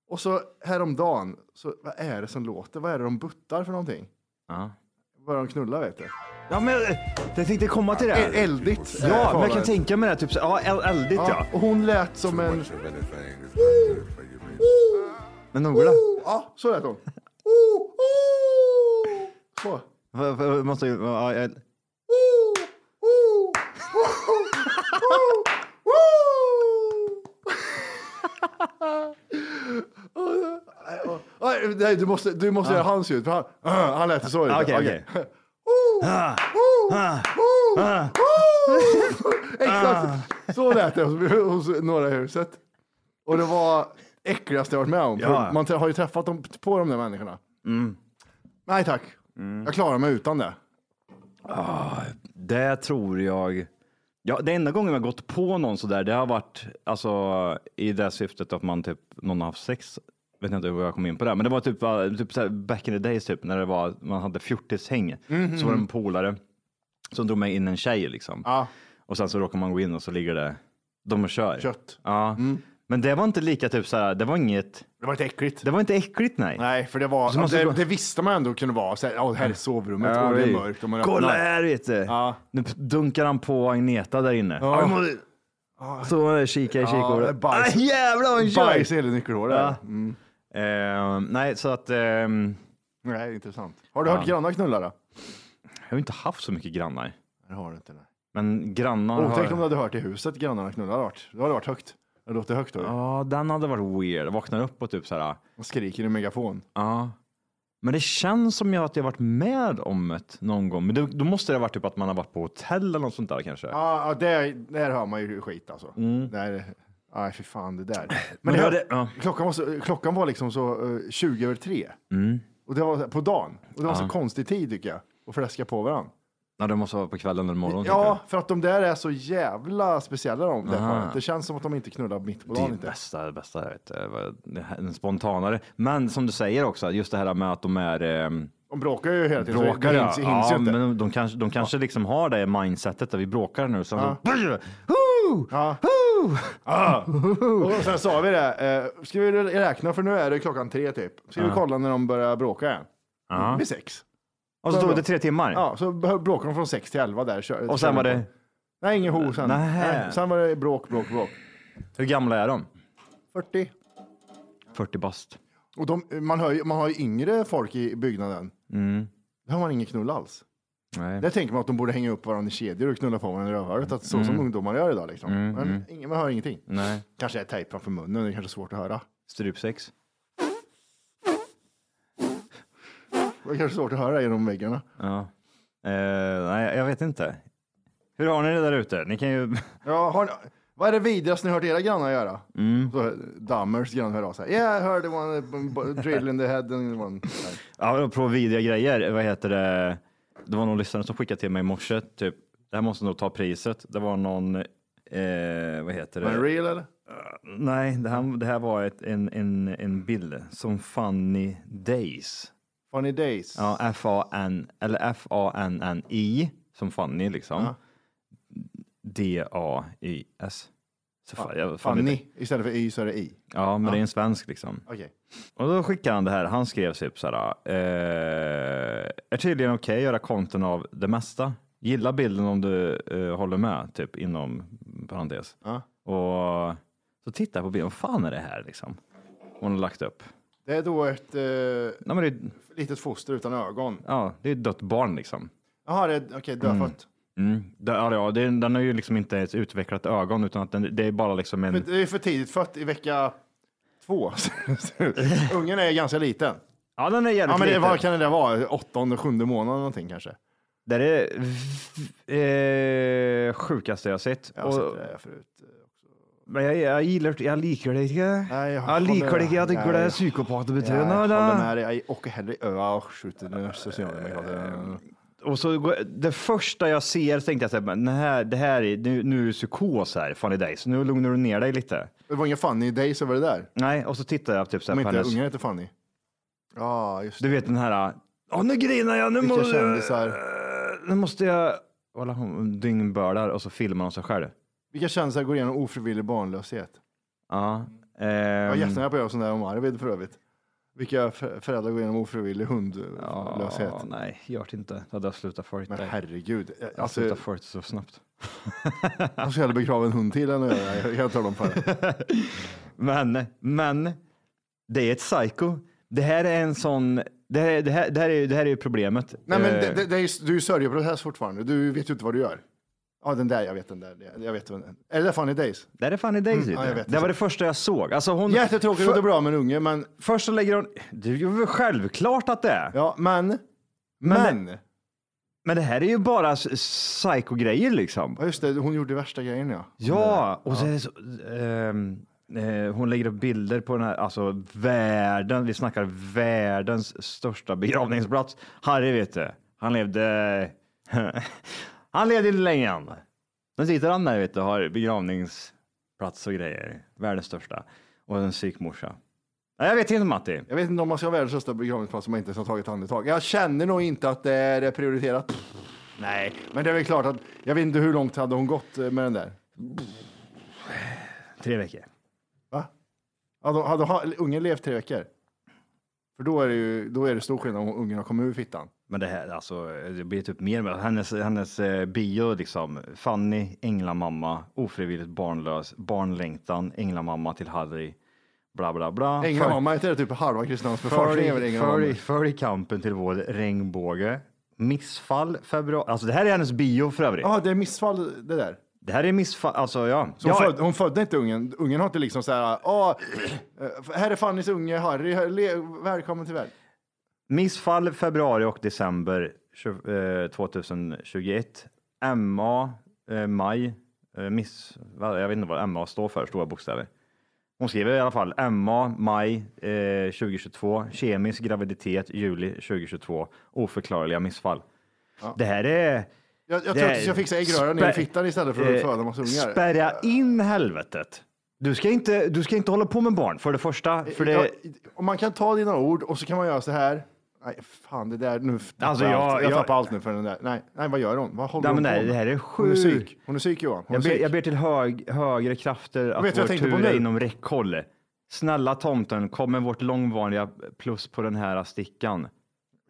[SPEAKER 1] Och så häromdagen, så, vad är det som låter? Vad är det de buttar för någonting?
[SPEAKER 2] Ja.
[SPEAKER 1] Vad de knullar vet du.
[SPEAKER 2] Ja, men eh, jag tänkte komma till det.
[SPEAKER 1] E- Eldigt. eh,
[SPEAKER 2] Ja, men
[SPEAKER 1] talar.
[SPEAKER 2] jag kan tänka mig det. här, Typ, så- ja, el- eldigt ja.
[SPEAKER 1] Ja, och hon lät som en...
[SPEAKER 2] Men noga.
[SPEAKER 1] Ja, så lät hon. Så.
[SPEAKER 2] Måste ju... ja, el-
[SPEAKER 1] Nej, nej, du måste, du måste göra hans ljud. För han, ah, han lät så.
[SPEAKER 2] Ja,
[SPEAKER 1] lite.
[SPEAKER 2] Okej, okej. Ah, ah,
[SPEAKER 1] Ah.
[SPEAKER 2] ah.
[SPEAKER 1] Exakt. Så lät det hos, hos några i huset. Och det var äckligaste jag varit med om. för
[SPEAKER 2] Ja. Mm.
[SPEAKER 1] Man har ju träffat dem, på de där människorna. Nej tack. Jag klarar mig utan det.
[SPEAKER 2] Det tror jag... Ja, det enda gången jag har gått på någon sådär, det har varit alltså, i det syftet att man typ, någon har haft sex. Vet inte hur jag kom in på det, men det var typ, uh, typ såhär, back in the days typ, när det var, man hade 40-häng.
[SPEAKER 1] Mhm.
[SPEAKER 2] Så var det en polare som drog med in en tjej liksom.
[SPEAKER 1] Ja.
[SPEAKER 2] Och sen så råkar man gå in och så ligger det, de och kör.
[SPEAKER 1] Kött. Mm.
[SPEAKER 2] Ja. Men det var inte lika typ såhär, det var inget,
[SPEAKER 1] Det var lite äckligt.
[SPEAKER 2] det var inte äckligt nej.
[SPEAKER 1] Nej, för det var,
[SPEAKER 2] Så man ska
[SPEAKER 1] det,
[SPEAKER 2] gå-
[SPEAKER 1] det visste man ändå kunde vara. Så här, "Ja, här är sovrummet och det är mörkt. Och man
[SPEAKER 2] Kolla
[SPEAKER 1] öppnar."
[SPEAKER 2] här vet du.
[SPEAKER 1] Ja.
[SPEAKER 2] Nu dunkar han på Agneta där inne.
[SPEAKER 1] Ja.
[SPEAKER 2] Jag må- Så eh, kikar i
[SPEAKER 1] det är
[SPEAKER 2] kikhålet.
[SPEAKER 1] bajs.
[SPEAKER 2] Ah, jävlar vad han kör!
[SPEAKER 1] Bajs i hela nyckelhålet.
[SPEAKER 2] Ja. Eh, nej, så att ehm,
[SPEAKER 1] Nej, intressant. Har du hört
[SPEAKER 2] Ja.
[SPEAKER 1] grannar knulla då?
[SPEAKER 2] Jag har inte haft så mycket grannar.
[SPEAKER 1] Det har du inte. nej.
[SPEAKER 2] Men grannar
[SPEAKER 1] Otäckt om
[SPEAKER 2] har...
[SPEAKER 1] du hade hört i huset grannarna knulla. Det hade varit, det hade varit högt. Det låter högt då. ju.
[SPEAKER 2] Ja, den hade varit weird. Jag vaknar upp och typ så här.
[SPEAKER 1] Man skriker i megafon.
[SPEAKER 2] Ja. Men det känns som jag att jag varit med om det någon gång. Men det, då måste det ha varit typ att man har varit på hotell eller något sånt där kanske.
[SPEAKER 1] Ja, ja, där, där hör man ju skit alltså. Där, nej, fy fan det där. Men,
[SPEAKER 2] Mm. Men
[SPEAKER 1] det,
[SPEAKER 2] jag hade- ja.
[SPEAKER 1] klockan, var så, klockan var liksom så eh, 20 över tre.
[SPEAKER 2] Mm.
[SPEAKER 1] Och det var så här på dagen. Och det var så konstig tid tycker jag. Att fläska på varandra.
[SPEAKER 2] Ja, det måste vara på kvällen eller typ. morgonen.
[SPEAKER 1] Ja, för att de där är så jävla speciella de där
[SPEAKER 2] Aha.
[SPEAKER 1] paret. Det känns som att de inte knullar mitt på
[SPEAKER 2] Det är
[SPEAKER 1] dagen.
[SPEAKER 2] det
[SPEAKER 1] Inte.
[SPEAKER 2] bästa, det bästa jag vet. Det var- det här- En spontanare. Men som du säger också, just det här med att de är ehm,
[SPEAKER 1] De bråkar ju hela tiden. så det
[SPEAKER 2] bråkar.
[SPEAKER 1] hinns- hinns ju
[SPEAKER 2] ja,
[SPEAKER 1] inte.
[SPEAKER 2] men de, de kanske, de kanske liksom har det mindsetet där vi bråkar nu. Så de, Hoo!
[SPEAKER 1] Ja.
[SPEAKER 2] Hoo!
[SPEAKER 1] Och sen sa vi det, eh, ska vi räkna för nu är det klockan tre typ. Ska vi kolla när de börjar bråka igen?
[SPEAKER 2] Ja.
[SPEAKER 1] Vid sex.
[SPEAKER 2] Och så tog det tre timmar.
[SPEAKER 1] Ja, så bråkade de från sex till elva där. Kör,
[SPEAKER 2] Och sen var det,
[SPEAKER 1] Nej, ingen ho sen.
[SPEAKER 2] Nähä.
[SPEAKER 1] Nej. Sen var det bråk, bråk, bråk.
[SPEAKER 2] hur gamla är de?
[SPEAKER 1] 40.
[SPEAKER 2] 40 bast.
[SPEAKER 1] Och de, man, hör ju, man har ju yngre folk i byggnaden.
[SPEAKER 2] Mm.
[SPEAKER 1] Där har man ingen knull alls.
[SPEAKER 2] Nej.
[SPEAKER 1] Där tänker man att de borde hänga upp varandra i kedjor och knulla på varandra i rövhålet. Att så som ungdomar gör idag liksom. Men ingen, man hör ingenting.
[SPEAKER 2] Nej.
[SPEAKER 1] Kanske är tejp framför munnen, det är kanske är svårt att höra.
[SPEAKER 2] Strupsex.
[SPEAKER 1] Det är kanske svårt att höra genom väggarna.
[SPEAKER 2] Eh, nej, jag vet inte. Hur har ni det där ute? Ni kan ju...
[SPEAKER 1] Ja, har, ni- vad är det vidrigaste ni hört era grannar göra? Så, Dammers grann hör av sig. Yeah, I heard one b- drill in the head. And one.
[SPEAKER 2] Ja, apropå vidriga grejer, vad heter det? Det var någon lyssnare som skickade till mig i morse, typ, det här måste nog ta priset. Det var någon, eh, vad heter det?
[SPEAKER 1] Var det real eller?
[SPEAKER 2] Nej, det här, det här var ett, en, en, en bild som Funny Days.
[SPEAKER 1] Funny days.
[SPEAKER 2] Ja, F-A-N, eller F-A-N-N-I, som Funny liksom. D-A-I-S. Så fan, jag- fan vet-
[SPEAKER 1] Funny. Istället för y så är det i.
[SPEAKER 2] Ja, men det är en svensk liksom.
[SPEAKER 1] Okej.
[SPEAKER 2] Och då skickade han det här. Han skrev typ så här. Eh, är tydligen okej att göra konten av det mesta. Gilla bilden om du eh, håller med, typ inom parentes.
[SPEAKER 1] Ja.
[SPEAKER 2] Och så tittar jag på bilden. Vad fan är det här liksom? Hon har lagt upp.
[SPEAKER 1] Det är då ett eh,
[SPEAKER 2] Nej, men det, är-
[SPEAKER 1] litet foster utan ögon.
[SPEAKER 2] ja, det är ett dött barn liksom.
[SPEAKER 1] Jaha, det är okej, dödfött.
[SPEAKER 2] Mm. Det, ja, ja, det, den har ju liksom inte ens utvecklat ögon utan att den, det är bara liksom en...
[SPEAKER 1] Men Det är för tidigt fött i vecka två. Ungen är ganska liten.
[SPEAKER 2] Ja, den är jävligt
[SPEAKER 1] Ja, men det,
[SPEAKER 2] liten.
[SPEAKER 1] vad kan det där vara? Åttonde, sjunde månaden någonting kanske?
[SPEAKER 2] Det är det eh, sjukaste jag sett.
[SPEAKER 1] Jag har
[SPEAKER 2] Och-
[SPEAKER 1] sett det här förut.
[SPEAKER 2] Men jeg, jeg, gillar, jeg liker det ikke.
[SPEAKER 1] Nei, jeg
[SPEAKER 2] jeg liker det ikke. Jeg
[SPEAKER 1] holder-
[SPEAKER 2] tenker det
[SPEAKER 1] jeg-
[SPEAKER 2] er
[SPEAKER 1] Jag
[SPEAKER 2] psykopatebetryggende.
[SPEAKER 1] håller
[SPEAKER 2] Ja,
[SPEAKER 1] med dig. Jag åker hellre i öa och skjuter den socialdemokraterna.
[SPEAKER 2] och så går- det första jag ser tänkte jag så här, men det här, det här är, nu, nu är det psykos här, fan i dig, så nu lugnar du ner dig lite.
[SPEAKER 1] Det var ingen Fanny Days över det där.
[SPEAKER 2] Nej, och så tittar jag typ så
[SPEAKER 1] Om
[SPEAKER 2] här på
[SPEAKER 1] inte
[SPEAKER 2] hennes,
[SPEAKER 1] ungen heter Fanny. Ja, just det.
[SPEAKER 2] du vet den här, åh nu grinar jag, nu, må,
[SPEAKER 1] Vilka kändisar?
[SPEAKER 2] nu måste jag, Kolla, hon dyngbördar och så filmar hon sig själv.
[SPEAKER 1] Vilka kändisar går igenom ofrivillig barnlöshet?
[SPEAKER 2] Ja. ehm,
[SPEAKER 1] Jag var jättenära på att göra sån där om Arvid för övrigt. Vilka för- föräldrar går igenom ofrivillig hundlöshet?
[SPEAKER 2] ja, nej, gör det inte. Då hade jag slutat följa
[SPEAKER 1] Men
[SPEAKER 2] dig.
[SPEAKER 1] herregud.
[SPEAKER 2] Jag
[SPEAKER 1] Alltså,
[SPEAKER 2] slutar följa så snabbt.
[SPEAKER 1] jag skulle hellre begrava en hund till än att göra. Jag- Jag tar dem för det.
[SPEAKER 2] Men, men, det är ett psycho. Det här är en sån, det här, det här, det här, är, det här är ju problemet.
[SPEAKER 1] Nej, men
[SPEAKER 2] Eh,
[SPEAKER 1] det, det, det är, ju- du är ju sörjeprocess fortfarande. Du vet ju inte vad du gör. Ja, den där, jag vet den där. Jag vet den där. Är det där Fanny Days?
[SPEAKER 2] det här är Funny Days.
[SPEAKER 1] ja, jag
[SPEAKER 2] Mm,
[SPEAKER 1] vet.
[SPEAKER 2] det var det första jag såg. Alltså hon,
[SPEAKER 1] Jättetråkigt att
[SPEAKER 2] för,
[SPEAKER 1] det är bra med en unge, men
[SPEAKER 2] Först så lägger hon, det är ju självklart att det är.
[SPEAKER 1] ja, men.
[SPEAKER 2] Men-
[SPEAKER 1] men.
[SPEAKER 2] Men det här är ju bara s- psycho-grejer liksom.
[SPEAKER 1] Ja just det, hon gjorde värsta grejen ja.
[SPEAKER 2] Ja, och så är det så, ehm, eh, hon lägger upp bilder på den här, alltså världen, vi snackar världens största begravningsplats. Harry vet du, han levde, han levde inte länge än. Nu sitter han där vet du, har begravningsplats och grejer, världens största. Och en psykmorsa. Nej, Jag vet inte Matti.
[SPEAKER 1] Jag vet inte om man ska ha världens största begravningsplats om man inte ens har tagit andetag. Jag känner nog inte att det är prioriterat. Nej. Men det är väl klart att, jag vet inte hur långt hade hon gått eh, med den där?
[SPEAKER 2] Tre veckor.
[SPEAKER 1] Hade, hade ha- ungen levt tre veckor? För då är det ju, då är det stor skillnad om ungen har kommit ur fittan.
[SPEAKER 2] Men det här, alltså, det blir typ mer med hennes, hennes eh, bio liksom. Fanny, änglamamma, ofrivilligt barnlös, barnlängtan, änglamamma till Harry, bla bla bla.
[SPEAKER 1] Ängen har man inte typ halva Kristinehamns befolkning. är väl Ängen har
[SPEAKER 2] Följ,
[SPEAKER 1] man.
[SPEAKER 2] följ kampen till vår regnbåge. Missfall februari. Alltså det här är hennes bio för övrigt.
[SPEAKER 1] Ja, det är missfall det där.
[SPEAKER 2] Det här är missfall, alltså ja.
[SPEAKER 1] Så hon,
[SPEAKER 2] ja
[SPEAKER 1] föd, hon födde inte ungen. Ungen har inte liksom så här, "Ah, eh, här är Fannys unge Harry, Här- le- välkommen till världen.
[SPEAKER 2] Missfall februari och december tju- eh, 2021. MA, eh, maj, eh, miss, vad- jag vet inte vad MA står för, stora bokstäver. Hon skriver i alla fall MA, maj eh, 2022, kemisk graviditet, juli 2022, oförklarliga missfall. Det här är...
[SPEAKER 1] Jag, jag
[SPEAKER 2] det
[SPEAKER 1] tror
[SPEAKER 2] är
[SPEAKER 1] att jag fixa äggröran ner i
[SPEAKER 2] spä-
[SPEAKER 1] fittan istället för att
[SPEAKER 2] eh,
[SPEAKER 1] föda massa ungar.
[SPEAKER 2] Spärra in helvetet. Du ska, inte, du ska inte hålla på med barn, för det första. För det,
[SPEAKER 1] Ja, om man kan ta dina ord och så kan man göra så här. Nej, fan det där. Nu tappar
[SPEAKER 2] Alltså,
[SPEAKER 1] jag,
[SPEAKER 2] jag-
[SPEAKER 1] allt. jag,
[SPEAKER 2] jag-
[SPEAKER 1] tappar allt nu för den där. Nej, nej vad gör hon? Vad håller
[SPEAKER 2] Nej,
[SPEAKER 1] hon på
[SPEAKER 2] men nej,
[SPEAKER 1] med?
[SPEAKER 2] det här är
[SPEAKER 1] Hon är
[SPEAKER 2] sjukt.
[SPEAKER 1] psyk. Hon är psyk Johan. Hon är
[SPEAKER 2] Jag ber,
[SPEAKER 1] psyk.
[SPEAKER 2] jag ber till hög, högre krafter att
[SPEAKER 1] vad jag
[SPEAKER 2] vår
[SPEAKER 1] tänkte på
[SPEAKER 2] tur är
[SPEAKER 1] nu?
[SPEAKER 2] inom räckhåll. Snälla tomten, kom med vårt långvariga plus på den här stickan.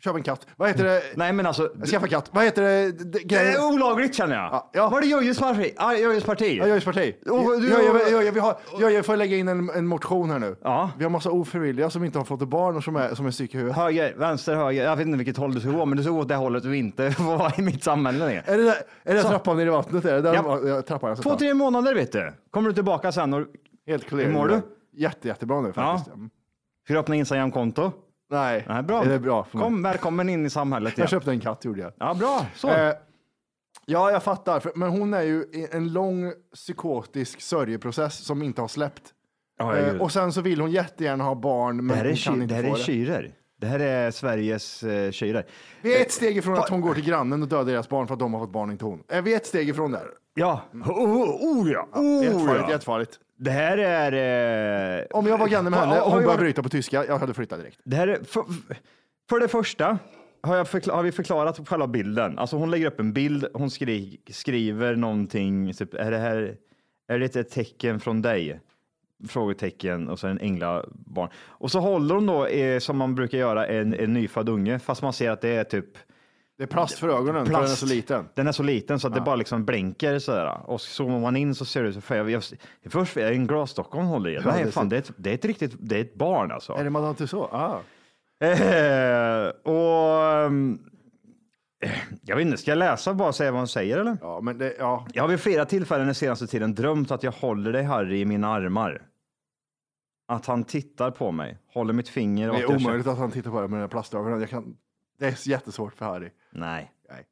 [SPEAKER 1] Köp en katt. Vad heter det?
[SPEAKER 2] Nej, men alltså.
[SPEAKER 1] Skaffa katt. Vad heter det? D- d-
[SPEAKER 2] Det
[SPEAKER 1] Grejen.
[SPEAKER 2] är olagligt känner jag.
[SPEAKER 1] Ja, ja.
[SPEAKER 2] Var det Jöjes parti? Ja, Jöjes parti.
[SPEAKER 1] Ja, Jojjes parti.
[SPEAKER 2] Och du-
[SPEAKER 1] Ja, jag- jag- jag- vi har- jag- Jag får lägga in en, en motion här nu.
[SPEAKER 2] Ja.
[SPEAKER 1] Vi har massa ofrivilliga som inte har fått barn och som är, som är psyk i huvudet.
[SPEAKER 2] Höger, vänster, höger. Jag vet inte vilket håll du ska gå, men du ska gå åt det hållet du inte får vara i mitt samhälle längre.
[SPEAKER 1] Är det, där, är det trappan ner i vattnet? Är det där
[SPEAKER 2] Ja.
[SPEAKER 1] var- ja. trappan jag ska
[SPEAKER 2] Två,
[SPEAKER 1] ta?
[SPEAKER 2] tre månader vet du. Kommer du tillbaka sen och
[SPEAKER 1] Helt clear.
[SPEAKER 2] Hur mår du?
[SPEAKER 1] Jätte, jättebra nu faktiskt. Mm.
[SPEAKER 2] ska du öppna Instagram-konto?
[SPEAKER 1] Nej.
[SPEAKER 2] Nej, bra.
[SPEAKER 1] Är det bra för mig?
[SPEAKER 2] Kom, välkommen in i samhället
[SPEAKER 1] Jag
[SPEAKER 2] igen.
[SPEAKER 1] köpte en katt gjorde jag.
[SPEAKER 2] Ja, bra. Så.
[SPEAKER 1] Eh, ja, jag fattar. För, men hon är ju i en lång psykotisk sörjeprocess som inte har släppt.
[SPEAKER 2] Ja,
[SPEAKER 1] Eh,
[SPEAKER 2] gud.
[SPEAKER 1] och sen så vill hon jättegärna ha barn, men
[SPEAKER 2] Det här är,
[SPEAKER 1] hon kan
[SPEAKER 2] ky- det
[SPEAKER 1] inte
[SPEAKER 2] här
[SPEAKER 1] få
[SPEAKER 2] är
[SPEAKER 1] det.
[SPEAKER 2] kyrer. Det här är Sveriges eh, kyrer.
[SPEAKER 1] Vi är ett steg ifrån att hon går till grannen och dödar deras barn för att de har fått barn, inte hon. Är vi ett steg ifrån där?
[SPEAKER 2] Ja, oh, oh, oh, ja. Oh,
[SPEAKER 1] Jättefarligt,
[SPEAKER 2] ja.
[SPEAKER 1] jättefarligt.
[SPEAKER 2] Det här är... Eh,
[SPEAKER 1] Om jag var granne med
[SPEAKER 2] Har-
[SPEAKER 1] henne och
[SPEAKER 2] har
[SPEAKER 1] hon
[SPEAKER 2] jag-
[SPEAKER 1] började bryta på tyska, jag hade flyttat direkt.
[SPEAKER 2] Det här är för, för det första har, jag förkla- har vi förklarat själva bilden. Alltså hon lägger upp en bild, hon skri, skriver någonting. Typ, är det här är det ett tecken från dig? Frågetecken och sen en änglabarn. Och så håller hon då, eh, som man brukar göra, en, en nyfödd unge. Fast man ser att det är typ
[SPEAKER 1] Det är plast för ögonen, för den är så liten.
[SPEAKER 2] Den är så liten så att det bara liksom blänker sådär. Och zoomar man in så ser det så för jag, jag, Först är det en glasdocka hon håller i. Nej,
[SPEAKER 1] det är
[SPEAKER 2] fan, det är, ett, det är ett riktigt, det är ett barn alltså.
[SPEAKER 1] Är det Madame Tussauds? Ah.
[SPEAKER 2] Eh, och... ehm, eh, Jag vet inte, ska jag läsa bara och säga vad hon säger eller?
[SPEAKER 1] Ja, men det, ja.
[SPEAKER 2] Jag har vid flera tillfällen den senaste tiden drömt att jag håller dig Harry i mina armar. Att han tittar på mig, håller mitt finger och
[SPEAKER 1] det är
[SPEAKER 2] att jag
[SPEAKER 1] omöjligt att han tittar på det med den här plastögonen. Jag kan... Det är jättesvårt för Harry.
[SPEAKER 2] Känner... Nej.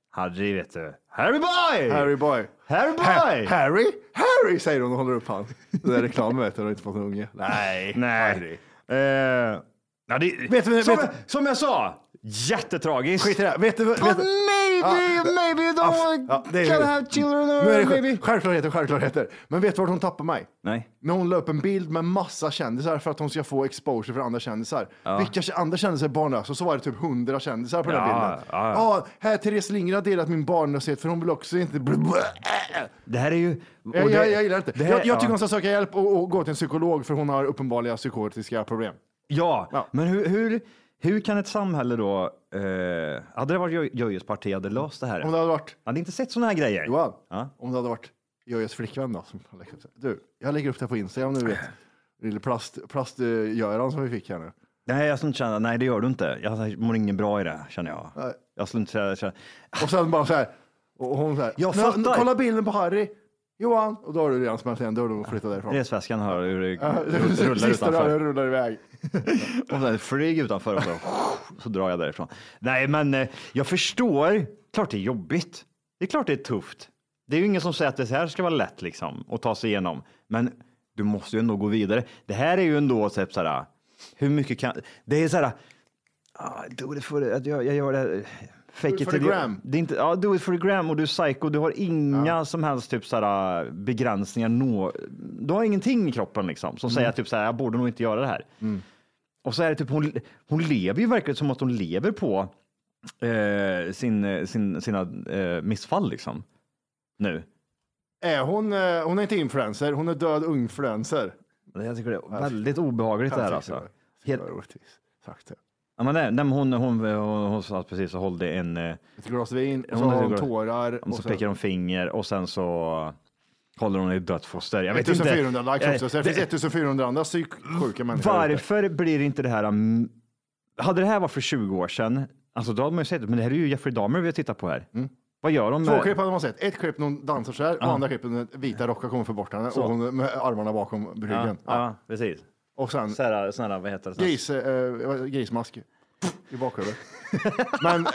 [SPEAKER 2] Harry vet du. Harry boy!
[SPEAKER 1] Harry boy.
[SPEAKER 2] Harry boy!
[SPEAKER 1] Ha- Harry? Harry säger hon och håller upp han. Den där reklamen vet du, har inte fått en unge.
[SPEAKER 2] Nej. Nej. Eh, ja, det,
[SPEAKER 1] Vet du-
[SPEAKER 2] som,
[SPEAKER 1] vet-
[SPEAKER 2] jag, som jag sa, jättetragiskt.
[SPEAKER 1] Skit i det. här. Vet du, vet,
[SPEAKER 2] But
[SPEAKER 1] du-
[SPEAKER 2] maybe,
[SPEAKER 1] Ja.
[SPEAKER 2] maybe you
[SPEAKER 1] Ja,
[SPEAKER 2] don't
[SPEAKER 1] f- ja, det är-
[SPEAKER 2] can have children
[SPEAKER 1] Nu är
[SPEAKER 2] or
[SPEAKER 1] det sj-
[SPEAKER 2] maybe...
[SPEAKER 1] Självklarheter, självklarheter. Men vet du vart hon tappar mig?
[SPEAKER 2] Nej.
[SPEAKER 1] När hon la upp en bild med massa kändisar för att hon ska få exposure för andra kändisar. Vilka kä- andra kändisar är barnlösa? Och så var det typ hundra kändisar på den här
[SPEAKER 2] Ja,
[SPEAKER 1] bilden.
[SPEAKER 2] ja, ja.
[SPEAKER 1] Ja, här Therese Lindgren har delat min barnlöshet för hon vill också inte... bli-
[SPEAKER 2] Det här är ju... och
[SPEAKER 1] Jag,
[SPEAKER 2] det-
[SPEAKER 1] jag, jag gillar inte.
[SPEAKER 2] det här-
[SPEAKER 1] jag, jag tycker
[SPEAKER 2] ja.
[SPEAKER 1] hon ska söka hjälp och, och gå till en psykolog för hon har uppenbarliga psykotiska problem.
[SPEAKER 2] Ja,
[SPEAKER 1] Ja.
[SPEAKER 2] men hur, hur, hur kan ett samhälle då... Eh, hade det varit Jö- Jöjes parti hade löst det här?
[SPEAKER 1] Om det hade varit
[SPEAKER 2] Hade inte sett sådana här grejer.
[SPEAKER 1] Johan,
[SPEAKER 2] Ja.
[SPEAKER 1] om det hade varit Jöjes flickvän då. Som har lagt upp det. Du, jag lägger upp det här på Instagram nu du vet. Lille plast, plastgöran som vi fick här nu.
[SPEAKER 2] Nej, jag skulle inte känna, nej det gör du inte. Jag mår ingen bra i det, känner jag.
[SPEAKER 1] Nej.
[SPEAKER 2] Jag skulle inte säga- känna,
[SPEAKER 1] Och sen bara så här. Och hon så här.
[SPEAKER 2] Jag
[SPEAKER 1] "Nu- nu,
[SPEAKER 2] fattar."
[SPEAKER 1] kolla bilden på Harry. Johan. Och då har du redan smällt igen dörren och flyttat därifrån.
[SPEAKER 2] resväskan hör hur det rullar
[SPEAKER 1] Sista
[SPEAKER 2] utanför.
[SPEAKER 1] rören rullar iväg.
[SPEAKER 2] Och sen flyg utanför och så, så drar jag därifrån. Nej, men eh, jag förstår. Klart det är jobbigt. Det är klart det är tufft. Det är ju ingen som säger att det här ska vara lätt liksom att ta sig igenom. Men du måste ju ändå gå vidare. Det här är ju ändå typ så här. Hur mycket kan... Det är så här. ah, Do it for the, att jag, jag gör det här. Fake
[SPEAKER 1] it
[SPEAKER 2] it
[SPEAKER 1] for the
[SPEAKER 2] till-
[SPEAKER 1] gram.
[SPEAKER 2] Det är inte, ja, do it for the gram och du är psycho. Du har inga som helst typ så här, begränsningar. Nå, du har ingenting i kroppen liksom
[SPEAKER 1] Mm.
[SPEAKER 2] som säger typ så här. Jag borde nog inte göra det här. Och så är det typ, hon, hon lever ju verkligen som att hon lever på eh, sin, eh, sin, sina eh, missfall liksom. Nu.
[SPEAKER 1] Är hon, eh, hon är inte influencer. Hon är död ungfluencer.
[SPEAKER 2] Jag tycker det är väldigt obehagligt Alltså, det här alltså. Helt,
[SPEAKER 1] Helt... Sagt det.
[SPEAKER 2] ja, men det, nej, men hon, hon, hon, hon, hon satt precis och hållde en, eh,
[SPEAKER 1] Ett glas vin och så
[SPEAKER 2] Hon är
[SPEAKER 1] har hon
[SPEAKER 2] så glad.
[SPEAKER 1] tårar.
[SPEAKER 2] och så pekar hon finger och sen så håller hon i dödsfoster. Jag vet inte.
[SPEAKER 1] 1400 likes
[SPEAKER 2] Eh,
[SPEAKER 1] också, så det finns 1400 andra psyksjuka människor.
[SPEAKER 2] Varför blir inte det här... mm, Hade det här varit för 20 år sedan, alltså då hade man ju sett men det här är ju Jeffrey Dahmer vi har tittat på här. Vad gör de?
[SPEAKER 1] Två
[SPEAKER 2] med-
[SPEAKER 1] klipp hade man sett. Ett klipp när hon dansar så här och
[SPEAKER 2] Ja.
[SPEAKER 1] andra klippet när vita rockar kommer för bort henne
[SPEAKER 2] Så.
[SPEAKER 1] och hon med armarna bakom ryggen.
[SPEAKER 2] Ja, ja.
[SPEAKER 1] Ja.
[SPEAKER 2] precis.
[SPEAKER 1] Och sen
[SPEAKER 2] Så här, sån här, vad heter det?
[SPEAKER 1] gris, eh, grismask i bakhuvudet. Men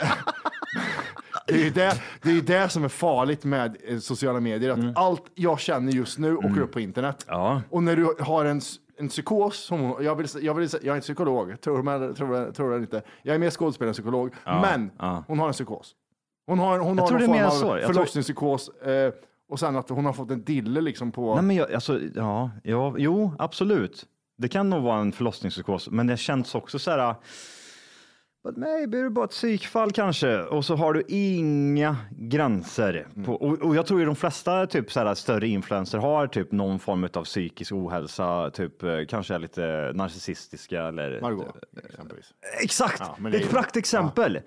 [SPEAKER 1] det är ju det, det, är ju det som är farligt med eh, sociala medier, att allt jag känner just nu åker upp på internet.
[SPEAKER 2] Mm. Ja.
[SPEAKER 1] Och när du har en, s- en psykos, som, hon- jag, vill, s- jag, vill, s- jag är inte psykolog, tror man eller- tror jag, tror jag inte. Jag är mer skådespelare än psykolog, men
[SPEAKER 2] ja.
[SPEAKER 1] hon har en psykos. Hon har, hon har
[SPEAKER 2] tror
[SPEAKER 1] någon
[SPEAKER 2] det är mer
[SPEAKER 1] form av
[SPEAKER 2] så. Jag tror-
[SPEAKER 1] förlossningspsykos eh, och sen att hon har fått en dille liksom på...
[SPEAKER 2] Nej, men jag, alltså, ja, ja, jo, absolut. Det kan nog vara en förlossningspsykos, men det känns också så här. But maybe det är bara ett psykfall kanske och så har du inga gränser.
[SPEAKER 1] Mm.
[SPEAKER 2] På, och, och jag tror ju de flesta typ så här, större influencers har typ någon form av psykisk ohälsa, typ eh, kanske är lite narcissistiska eller. eh,
[SPEAKER 1] Margot, exempelvis.
[SPEAKER 2] Exakt,
[SPEAKER 1] Ja, men det
[SPEAKER 2] det, är ett
[SPEAKER 1] är ju-
[SPEAKER 2] praktexempel.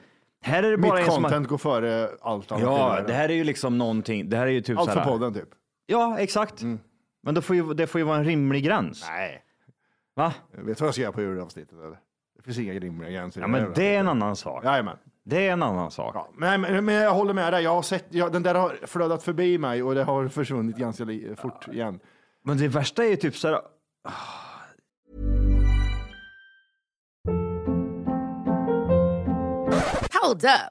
[SPEAKER 2] Här är det bara
[SPEAKER 1] Mitt
[SPEAKER 2] en som har-
[SPEAKER 1] content går före allt annat. i
[SPEAKER 2] Ja,
[SPEAKER 1] världen.
[SPEAKER 2] det här är ju liksom någonting. Det här är ju typ
[SPEAKER 1] Allt
[SPEAKER 2] så
[SPEAKER 1] för
[SPEAKER 2] här.
[SPEAKER 1] podden typ.
[SPEAKER 2] Ja, exakt. Men då får ju, det får ju vara en rimlig gräns.
[SPEAKER 1] Mm. Nej.
[SPEAKER 2] Va?
[SPEAKER 1] Vet du vad jag ska göra på julavsnittet eller? Det finns inga rimliga gränser. i
[SPEAKER 2] Ja, men
[SPEAKER 1] här
[SPEAKER 2] det är en
[SPEAKER 1] avsnittet.
[SPEAKER 2] annan sak.
[SPEAKER 1] Jajamän.
[SPEAKER 2] Det är en annan sak.
[SPEAKER 1] Ja, men, men, men jag håller med dig. Jag har sett, jag, den där har flödat förbi mig och det har försvunnit ganska li, fort igen.
[SPEAKER 2] Men det värsta är ju typ så här.
[SPEAKER 8] Hold up.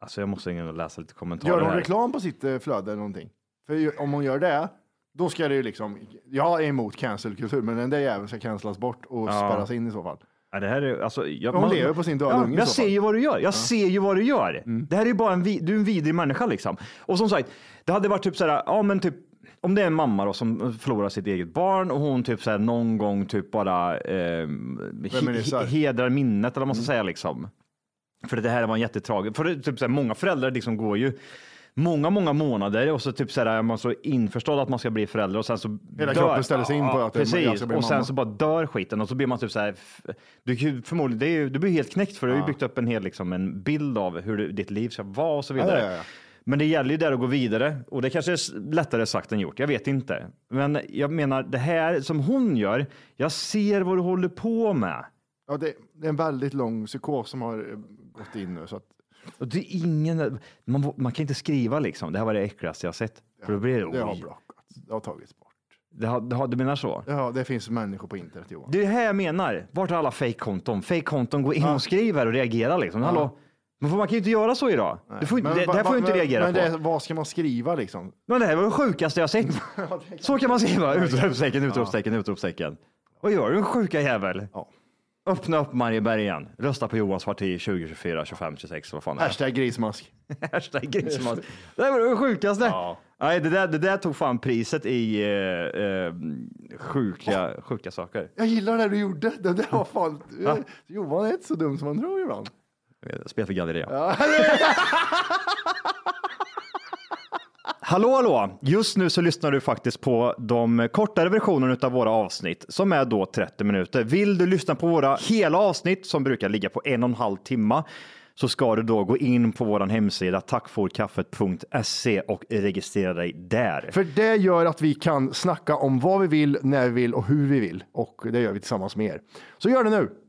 [SPEAKER 2] Alltså jag måste in och läsa lite kommentarer
[SPEAKER 1] Gör hon
[SPEAKER 2] här.
[SPEAKER 1] reklam på sitt eh, flöde eller någonting? För ju- om hon gör det, då ska det ju liksom... Jag är emot cancelkultur, men den där jäveln ska cancelas bort och
[SPEAKER 2] Ja.
[SPEAKER 1] spärras in i så fall.
[SPEAKER 2] Ja, det här är, alltså, jag,
[SPEAKER 1] Hon lever på sin döda unge i
[SPEAKER 2] Jag
[SPEAKER 1] så
[SPEAKER 2] ser
[SPEAKER 1] fall. Mm.
[SPEAKER 2] ju vad du gör. Jag ser ju vad du gör. Det här är ju bara en, vi- du är en vidrig människa liksom. Och som sagt, det hade varit typ så här, ja men typ om det är en mamma då som förlorar sitt eget barn och hon typ så här någon gång typ bara eh, he,
[SPEAKER 1] Reminiscar.
[SPEAKER 2] he, hedrar minnet eller vad man
[SPEAKER 1] Mm.
[SPEAKER 2] ska säga liksom. För det här var en jättetragisk, för det, är typ så här, många föräldrar liksom går ju många, många månader och så typ så här är man så införstådd att man ska bli förälder och sen så
[SPEAKER 1] Hela kroppen ställer sig in på att det- jag
[SPEAKER 2] precis.
[SPEAKER 1] ska bli
[SPEAKER 2] och sen
[SPEAKER 1] mamma.
[SPEAKER 2] så bara dör skiten och så blir man typ så här. f- Du, kan ju förmodligen, det är ju, du blir helt knäckt för du har ju byggt upp en hel liksom, en bild av hur du, ditt liv ska vara och så vidare.
[SPEAKER 1] Ja, ja, ja.
[SPEAKER 2] Men det gäller ju där att gå vidare och det kanske är s- lättare sagt än gjort. Jag vet inte, men jag menar det här som hon gör. Jag ser vad du håller på med
[SPEAKER 1] Ja, det, det är en väldigt lång psykos som har eh, gått in nu. Så att,
[SPEAKER 2] och det är ingen. Man, man kan inte skriva liksom. Det här var det äckligaste jag sett. För då blir det,
[SPEAKER 1] det har
[SPEAKER 2] oj.
[SPEAKER 1] blockats. Det har tagits bort.
[SPEAKER 2] det, har, det har, du menar så?
[SPEAKER 1] Ja, det finns människor på internet, Johan.
[SPEAKER 2] Det är det här jag menar. Vart är alla fake-konton? Fake-konton går in och skriver och reagerar liksom. Hallå? Men för man kan ju inte göra så idag. Du får, ju inte- det, det här
[SPEAKER 1] va-
[SPEAKER 2] får ju inte
[SPEAKER 1] men-
[SPEAKER 2] reagera
[SPEAKER 1] men
[SPEAKER 2] på.
[SPEAKER 1] det- vad ska man skriva liksom?
[SPEAKER 2] Men det här var det sjukaste jag sett. så kan man skriva. Utropstecken, utropstecken, utropstecken. Vad gör du en sjuka jävel?
[SPEAKER 1] Ja.
[SPEAKER 2] Öppna upp Marieberg igen. Rösta på Johans parti 2024, 25, 26, vad fan det är.
[SPEAKER 1] Hashtag grismask.
[SPEAKER 2] Hashtag grismat. Det här var det sjukaste. Nej, det där, det där tog fan priset i eh, eh, sjuka, sjuka saker.
[SPEAKER 1] Jag gillar det du gjorde. Det där var fan... Johan är inte så dum som man tror ibland.
[SPEAKER 2] Spel för galleria. Hallå, hallå! Just nu så lyssnar du faktiskt på de kortare versionerna av våra avsnitt som är då 30 minuter. Vill du lyssna på våra hela avsnitt som brukar ligga på en och en halv timma så ska du då gå in på vår hemsida tackforkaffet.se och registrera dig där.
[SPEAKER 1] För det gör att vi kan snacka om vad vi vill, när vi vill och hur vi vill. Och det gör vi tillsammans med er. Så gör det nu.